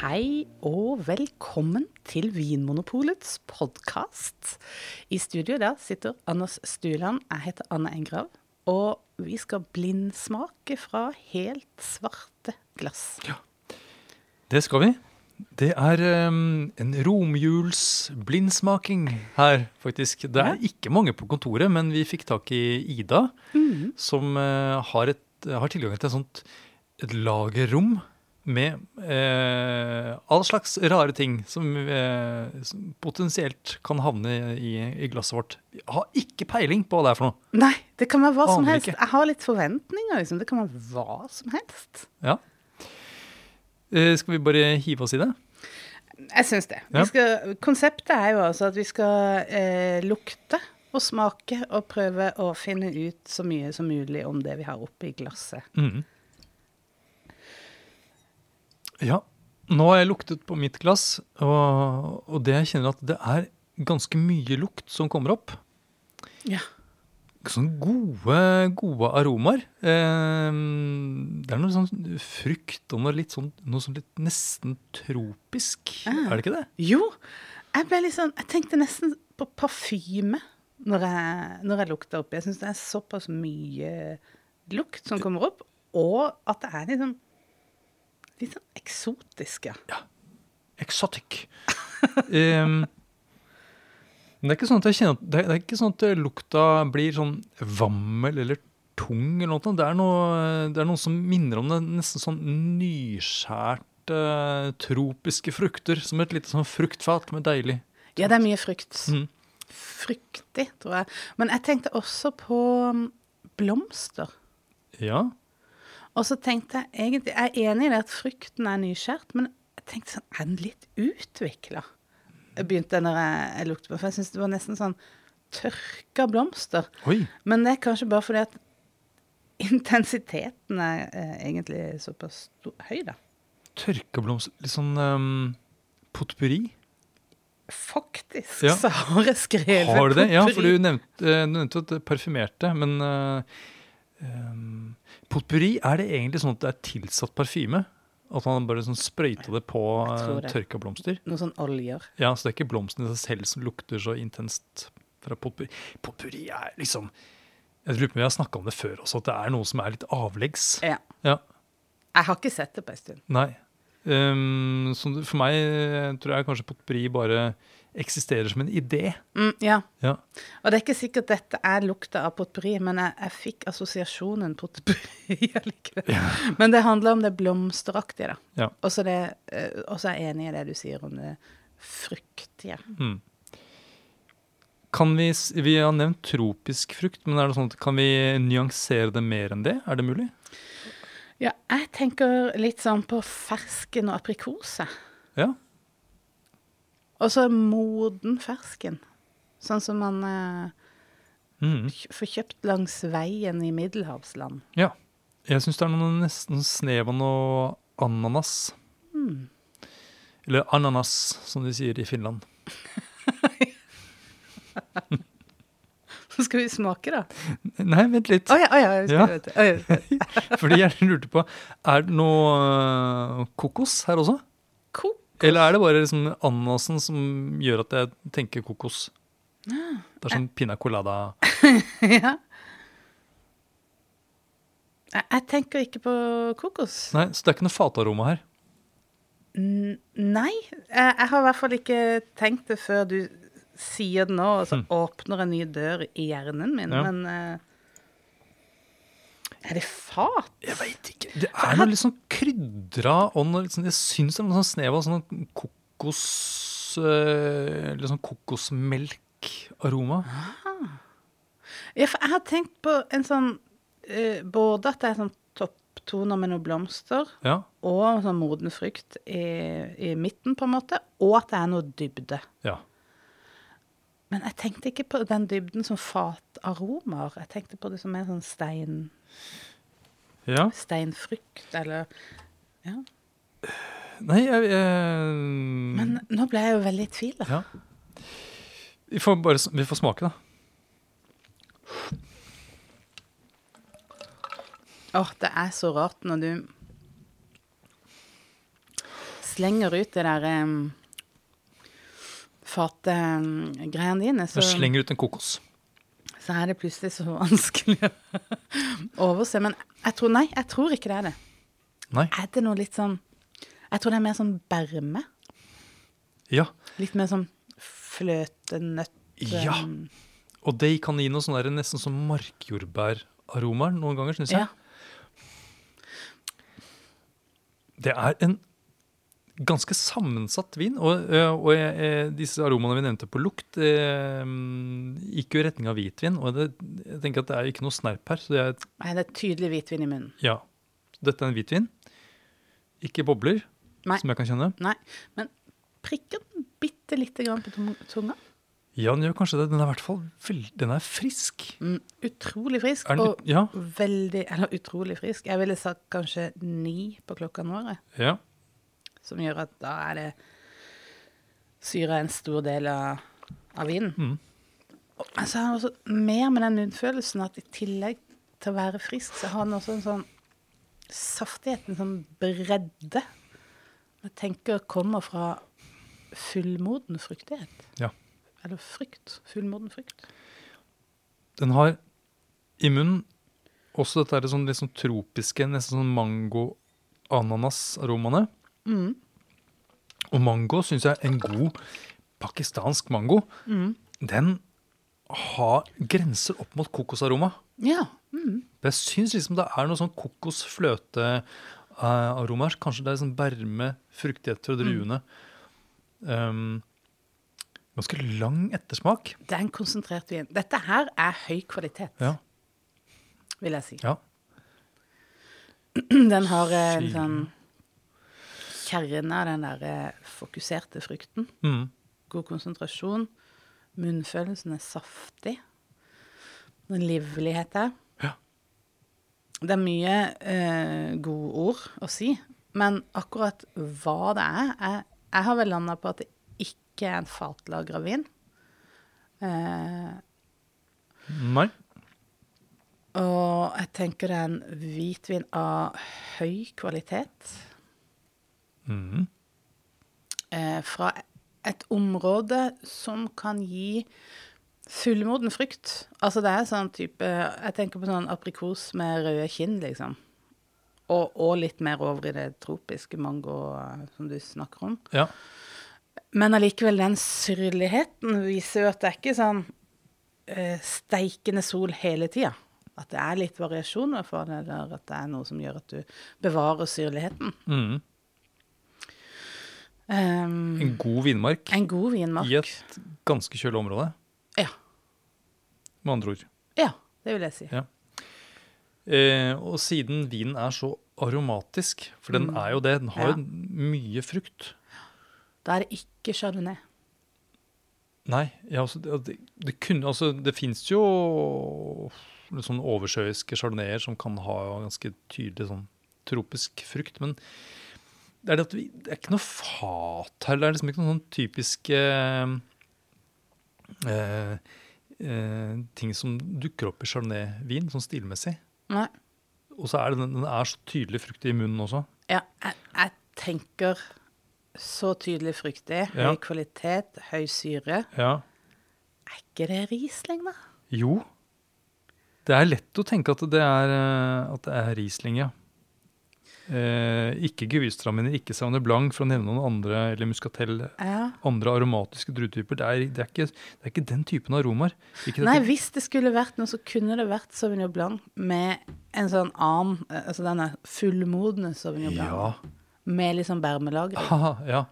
Hei og velkommen til Vinmonopolets podkast. I studio der sitter Anders Stuland. Jeg heter Anne Engrav. Og vi skal blindsmake fra helt svarte glass. Det skal vi. Det er um, en romjulsblindsmaking her, faktisk. Det er ikke mange på kontoret, men vi fikk tak i Ida, som eh, har, et, har tilgang til et sånt et lagerrom med eh, all slags rare ting som, eh, som potensielt kan havne i, i glasset vårt. Vi har ikke peiling på hva det er for noe. Nei, det kan være hva som Aner helst. ikke. Jeg har litt forventninger, liksom. Det kan være hva som helst. Ja. Eh, skal vi bare hive oss i det? Jeg syns det. Ja. Vi skal, konseptet er jo altså at vi skal eh, lukte og smake og prøve å finne ut så mye som mulig om det vi har oppi glasset. Mhm. Ja. Nå har jeg luktet på mitt glass, og, og det jeg kjenner at det er ganske mye lukt som kommer opp. Ja. Sånne gode, gode aromaer. Ehm, det er noe sånn frukt og noe litt sånn noe sånn litt nesten tropisk. Er det ikke det? Jo, jeg ble litt sånn Jeg tenkte nesten på parfyme når jeg, når jeg lukta opp. Jeg syns det er såpass mye lukt som kommer opp, og at det er liksom Litt sånn eksotisk, ja. Exotic. Ehm, men det er ikke sånn at jeg kjenner at det er, det er ikke sånn at eh, lukta blir sånn vammel eller tung eller noe. sånt. Det er noe, det er noe som minner om det nesten sånn nyskjært eh, tropiske frukter. Som et lite sånn fruktfat med deilig Ja, det er mye frukt. Mhm. Fruktig, tror jeg. Men jeg tenkte også på mm, blomster. Ja. Og så tenkte jeg egentlig Jeg er enig i det at frukten er nyskjært, men jeg tenkte sånn Er den litt utvikla? Jeg begynte når jeg, jeg lukte på den, for jeg syns det var nesten sånn tørka blomster. Oi. Men det er kanskje bare fordi at intensiteten er eh, egentlig såpass stor, høy, da. Tørkeblomster. Litt sånn ehm, potpurri. Faktisk Ja. så har jeg skrevet Har du det? Ja, for potpourri. du nevnte, eh, du nevnte at det parfymerte, men eh, ehm, potpourri, er det egentlig sånn at det er tilsatt parfyme? At han bare sånn sprøyta det på Jeg tror eh, det. tørka blomster? Noen sånn oljer. Ja, så det er ikke blomstene i seg selv som lukter så intenst fra potpourri. Potpourri er liksom Jeg lurer på om vi har snakka om det før også, at det er noe som er litt avleggs. Ja. Ja, Jeg har ikke sett det på en stund. nei. Ehm, så det- for meg eh, tror jeg kanskje potpourri bare eksisterer som en idé. Mm, ja. Ja. Og det er ikke sikkert dette er lukta av potpourri, men jeg, jeg fikk assosiasjonen potpourri allikevel. Men det handler om det blomsteraktige, da. ja. Og så det, eh, og så er jeg enig i det du sier om det fruktige. Mm. Kan vi, s- vi har nevnt tropisk frukt, men er det sånn at kan vi nyansere det mer enn det? Er det mulig? Ja, jeg tenker litt sånn på fersken og aprikose. Ja. Og så moden fersken. Sånn som man eh, Mhm. kj- får kjøpt langs veien i middelhavsland. ja. Jeg syns det er noe nesten snev av noe ananas. Eller ananas, som de sier i Finland. Så skal vi smake, da. Nei, vent litt. Å ja, å ja, jeg husker Ja. det, vet du. Å, jeg husker det. Fordi jeg lurte på Er det noe øh, kokos her også? Ko- Eller er det bare liksom ananasen som gjør at jeg tenker kokos? Det er sånn piña colada Ja. Jeg, jeg tenker ikke på kokos. Nei, så det er ikke noe fataroma her. N- Nei, jeg, jeg har i hvert fall ikke tenkt det før du sier det nå, og så åpner en ny dør i hjernen min, Ja. men eh, Er det fat? Jeg veit ikke. Det er noe litt sånn krydra og noe litt sånn, Jeg syns det er noe sånn snev av sånn kokos eh, Litt sånn kokosmelkaroma. Ja, for jeg har tenkt på en sånn eh, Både at det er sånn topptoner med noen blomster, Ja. og sånn moden frukt i, i midten, på en måte, og at det er noe dybde. ja. Men jeg tenkte ikke på den dybden som fataromer. Jeg tenkte på det som en sånn stein, ja. steinfrukt, eller ja. Nei, jeg, Men jeg nå ble jeg jo veldig i tvil. da. ja. Vi får bare s- vi får smake, da. Åh, det er så rart når du slenger ut det der um, fatgreiene dine, så, Jeg slenger ut en kokos. så er det plutselig så vanskelig å overse. Men jeg tror, nei, jeg tror ikke det er det. Nei. Er det noe litt sånn Jeg tror det er mer sånn berme. Ja. Litt mer sånn fløtenøtt Ja. um, Og det kan gi noe sånn der, nesten som markjordbæraromaer noen ganger, syns jeg. ja. Det er en ganske sammensatt vin. Og, eh, og jeg, eh, disse aromaene vi nevnte på lukt, eh, gikk jo i retning av hvitvin. Og det, jeg tenker at det er ikke noe snerp her. Så det er, Nei, det er tydelig hvitvin i munnen. ja, dette er en hvitvin. Ikke bobler, Nei. som jeg kan kjenne. Nei, men prikker den bitte lite grann på tung- tunga. Ja, den gjør kanskje det. Den er i hvert fall veld, den er frisk. Mm, utrolig frisk. Er den, og litt- ja, veldig Eller utrolig frisk. Jeg ville sagt kanskje ni på klokka nå, ja. som gjør at da er det syra en stor del av, av vinen. Mm. Og så har den også mer med den nunnfølelsen at i tillegg til å være frisk, så har den også en sånn saftighet, en sånn bredde. Jeg tenker kommer fra fullmoden fruktighet. Ja. Eller frukt. Fullmoden frukt. Den har i munnen også dette er sånn, litt sånn tropiske, nesten sånn mango-ananas-aromaene. Mm. Og mango syns jeg en god pakistansk mango, den har grenser opp mot kokosaroma. Ja. Mm. For Jeg syns liksom det er noe sånn kokosfløtearoma her. Kanskje det er sånn berme, fruktighet fra druene. Um, ganske lang ettersmak. Det er en konsentrert vin. Dette her er høy kvalitet, Ja. vil jeg si. ja. Den har eh, en Syre. sånn kjerne av den der eh, fokuserte frukten. Mm. God konsentrasjon. Munnfølelsen er saftig. Det er En livlighet der. Ja. Det er mye eh, gode ord å si, men akkurat hva det er Jeg, jeg har vel landa på at det ikke er en fatlagra vin. Eh, Nei. Og jeg tenker det er en hvitvin av høy kvalitet. Mm. Eh, fra et område som kan gi fullmoden frukt. Altså det er sånn type Jeg tenker på sånn aprikos med røde kinn, liksom. Og, og litt mer over i det tropiske mango eh, som du snakker om. Ja. Men allikevel, den syrligheten viser jo at det er ikke sånn eh, steikende sol hele tida. At det er litt variasjoner for det, eller at det er noe som gjør at du bevarer syrligheten. Mm. Ehm, En god vinmark Eh, en god vinmark. i et ganske kjølig område, Ja. med andre ord. ja, det vil jeg si. Ja. Eh, og siden vinen er så aromatisk, for den er jo det, den Mm. Ja. har jo mye frukt. Da er det ikke chardonnay. Nei, ja, altså, det, det, det kunne, altså, det fins jo litt sånn oversjøiske chardonnayer som kan ha ganske tydelig sånn tropisk frukt, men det er, det, at vi, det er ikke noe fat her. Det er liksom ikke noen sånn typiske eh, eh, ting som dukker opp i chardonnay-vin, sånn stilmessig. Nei. Og så er det, den- den er så tydelig fruktig i munnen også. Ja, jeg, jeg tenker så tydelig fruktig. Høy Ja. kvalitet, høy syre. Ja. Er ikke det Riesling, da? Jo. Det er lett å tenke at det er, eh, at det er Riesling, ja. Eh, ikke Gewürztraminer, ikke Sauvignon Blanc, for å nevne noen andre, eller Muscatel. Ja. Andre aromatiske druetyper. Det er, det, er ikke, det er ikke den typen aromaer. Ikke Nei, dette- hvis det skulle vært noe, så kunne det vært Sauvignon Blanc med en sånn annen, eh, altså denne fullmodne Sauvignon Ja. Blanc. Med litt sånn bermelagring. Haha, ja.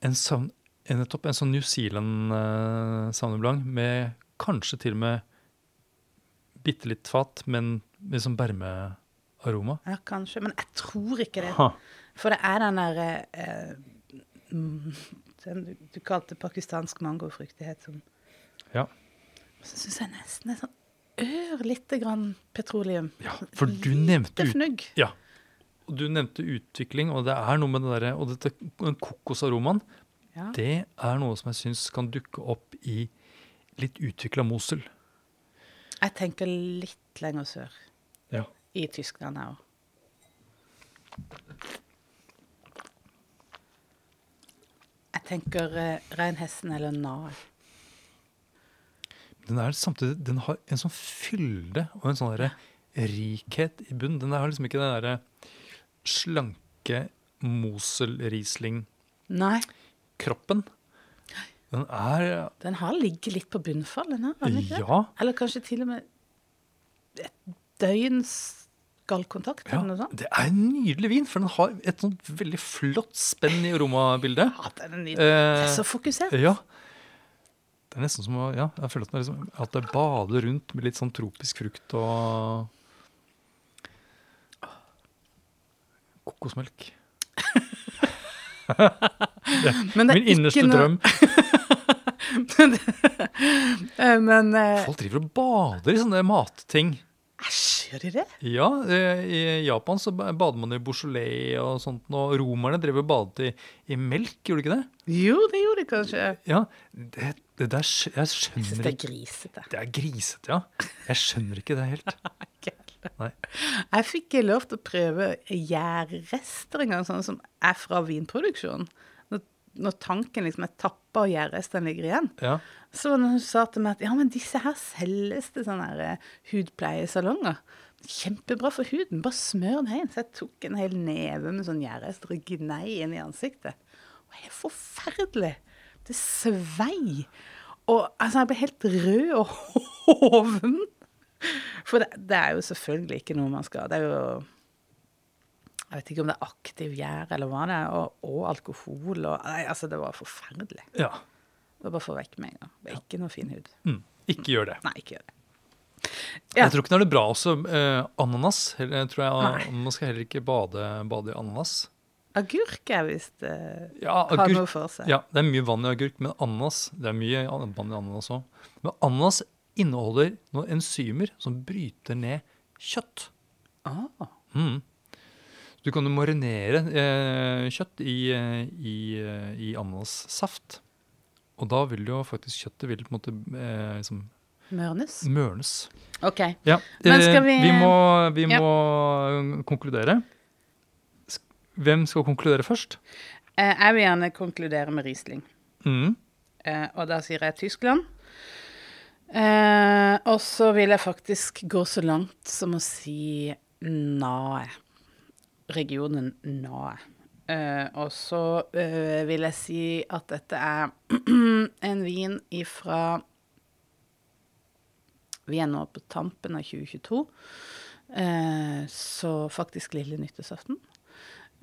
En, Sauvignon- en, nettopp en sånn New Zealand eh, Sauvignon Blanc med kanskje til og med bitte litt fat, men med sånn bermearoma. Ja, kanskje. Men jeg tror ikke det. Ha. For det er den derre eh, mm, den du, du kalte pakistansk mangofruktighet som Ja. Så syns jeg nesten er sånn ørlite grann petroleum. ja. For du nevnte Lite ut fnugg. Ja. Og du nevnte utvikling, og det er noe med det derre Og dette den kokosaromaen, Ja. det er noe som jeg syns kan dukke opp i litt utvikla Mosel. Jeg tenker litt lenger sør. Ja. I Tyskland her òg. tenker eh, reinhesten eller nar. Den er samtidig, den har en sånn fylde og en sånn derre rikhet i bunnen. Den har liksom ikke den derre slanke Mosel-Riesling-kroppen. Nei, Den er den har ligget litt på bunnfall, den her. har den ikke det? Ja. Eller kanskje til og med et døgns skallkontakt ja, eller noe sånt. det er en nydelig vin, for den har et sånt veldig flott spenn i aromabildet. Ja, den er nydelig. Det er Eh, så fokusert. Ja. Det er nesten som å ja, jeg føler at, det er liksom, at jeg bader rundt med litt sånn tropisk frukt og Kokosmelk. Men det er eh, Min innerste ikke noe- drøm. Eh, Men eh, Folk driver og bader i sånne matting. æsj, gjør de det? Ja, eh, i Japan så ba- bader man i bouchelet og sånt, og romerne drev og badet i, i melk, gjorde de ikke det? Jo, det gjorde de kanskje. Ja, det, det der skj- Jeg Jeg syns skjønner det er ikke grisete. Det er grisete, ja. Jeg skjønner ikke det helt. Nei. Jeg fikk lov til å prøve gjærrester en gang, sånn som er fra vinproduksjon. Når, når tanken liksom er tappa og gjærrestene ligger igjen. Ja. Så var det noen som sa til meg at ja, men disse her selges til sånne her, eh, hudpleiesalonger. Kjempebra for huden, bare smør den inn. Så jeg tok en hel neve med sånn gjærrester og gnei inn i ansiktet. Og det er forferdelig. Det svei. Og altså, jeg ble helt rød og hoven. For det, det er jo selvfølgelig ikke noe man skal Det er jo Jeg vet ikke om det er aktiv gjær eller hva det er, og, og alkohol og Nei, altså, det var forferdelig. ja. Det var bare få vekk med en gang. Det er ikke noe fin hud. Mm. Ikke gjør det. Nei, ikke gjør det. Ja. Jeg tror ikke det er det bra også. eh, ananas. Heller, tror jeg, Nei. man skal heller ikke bade, bade i ananas. Agurk er visst eh, Ja, Har noe for seg. Ja, det er mye vann i agurk, men ananas Det er mye an- vann i ananas òg. Men ananas inneholder noen enzymer som bryter ned kjøtt. ah, Mm. Du kan jo marinere eh, kjøtt i, eh, i, eh, i ananassaft. Og da vil jo faktisk kjøttet vil på en måte eh, liksom Mørnes. mørnes. OK. Ja. Men skal eh, vi- vi må, vi Ja. må um, konkludere. Sk- Hvem skal konkludere først? Eh, jeg vil gjerne konkludere med Riesling. Mm. Eh, og da sier jeg Tyskland. Eh, og så vil jeg faktisk gå så langt som å si Nae. Regionen Nae. Eh, og så eh, vil jeg si at dette er en vin ifra Vi er nå på tampen av 2022, eh, så faktisk lille nyttårsaften.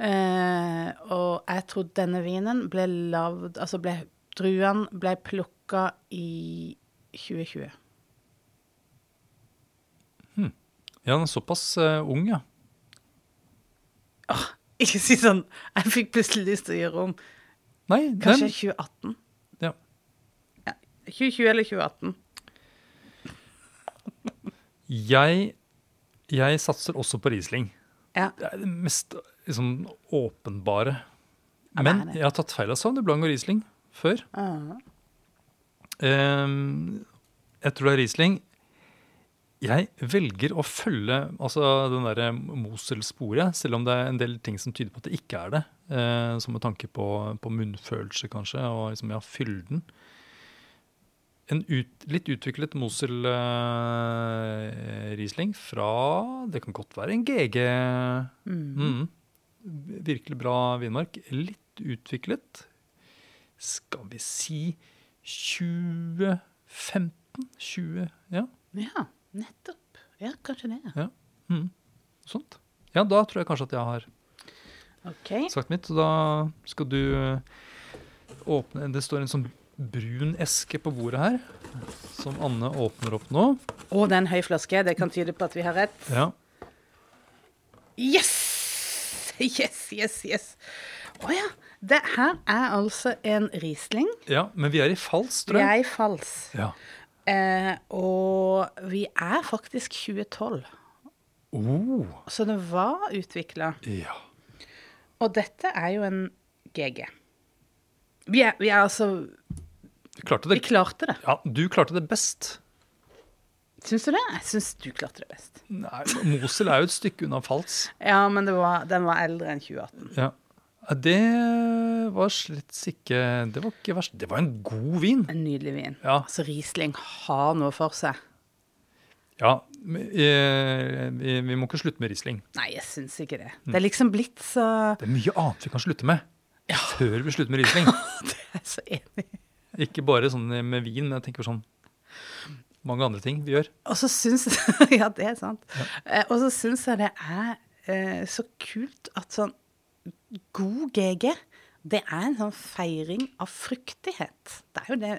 Eh, og jeg tror denne vinen ble lagd Altså ble, druen ble plukka i 2020. Ja, den er såpass eh, ung, ja. Ikke si sånn Jeg fikk plutselig lyst til å gjøre om. Nei, Kanskje den, 2018? ja. Ja. 2020 eller 2018. jeg, jeg satser også på Riesling. Ja. Det er det mest liksom, åpenbare. Ja, det Men er det. jeg har tatt feil av Sauvignon Blanc og Riesling før. Ah. Ehm, jeg tror det er Riesling. Jeg velger å følge altså den der Mosel-sporet, selv om det er en del ting som tyder på at det ikke er det. eh, som med tanke på, på munnfølelse, kanskje, og liksom, ja, fylden. En ut, litt utviklet Mosel-Riesling fra Det kan godt være en GG. Mm. Mm. Virkelig bra vinmark. Litt utviklet. Skal vi si 2015? 20, ja, ja, nettopp. Ja, kanskje det. mm. sånt. Ja, da tror jeg kanskje at jeg har OK. sagt mitt. Så da skal du eh, åpne Det står en sånn brun eske på bordet her, som Anne åpner opp nå. Og det er en høy flaske. Det kan tyde på at vi har rett. Ja. Yes! Yes, yes, yes. Å ja. Det her er altså en Riesling. ja, men vi er i fals, tror Jeg jeg. fals. Ja. Eh, og vi er faktisk 2012, Oh, så det var utvikla. ja. Og dette er jo en GG. Vi er, vi er altså Du klarte Vi det. klarte det. Ja, du klarte det best. Syns du det? Jeg syns du klarte det best. Nei, Mosel er jo et stykke unna Fals. Ja, men det var, den var eldre enn 2018. Ja. Ja, Det var slett ikke Det var ikke verst. Det var en god vin. En nydelig vin. Ja. Altså, Riesling har noe for seg. ja men, eh, vi, vi må ikke slutte med Riesling. Nei, jeg syns ikke det. Det er liksom blitt så Det er mye annet vi kan slutte med før vi slutter med Riesling. Det er jeg så enig. i. Ikke bare sånn med vin, men jeg tenker sånn mange andre ting vi gjør. Og så syns Ja, det er sant. Eh, Og så syns jeg det er eh, så kult at sånn god GG, det er en sånn feiring av fruktighet. Det er jo det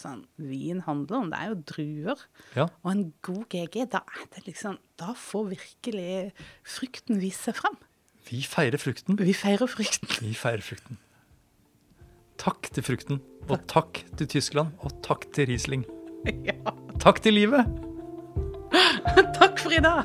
sånn vin handler om. Det er jo druer. Ja. Og en god GG, da er det liksom Da får virkelig frukten vise seg fram. Vi feirer frukten. Vi feirer frukten. Vi feirer frukten. Takk til frukten, og takk til Tyskland, og takk til Riesling. ja. Takk til livet! Takk for i dag.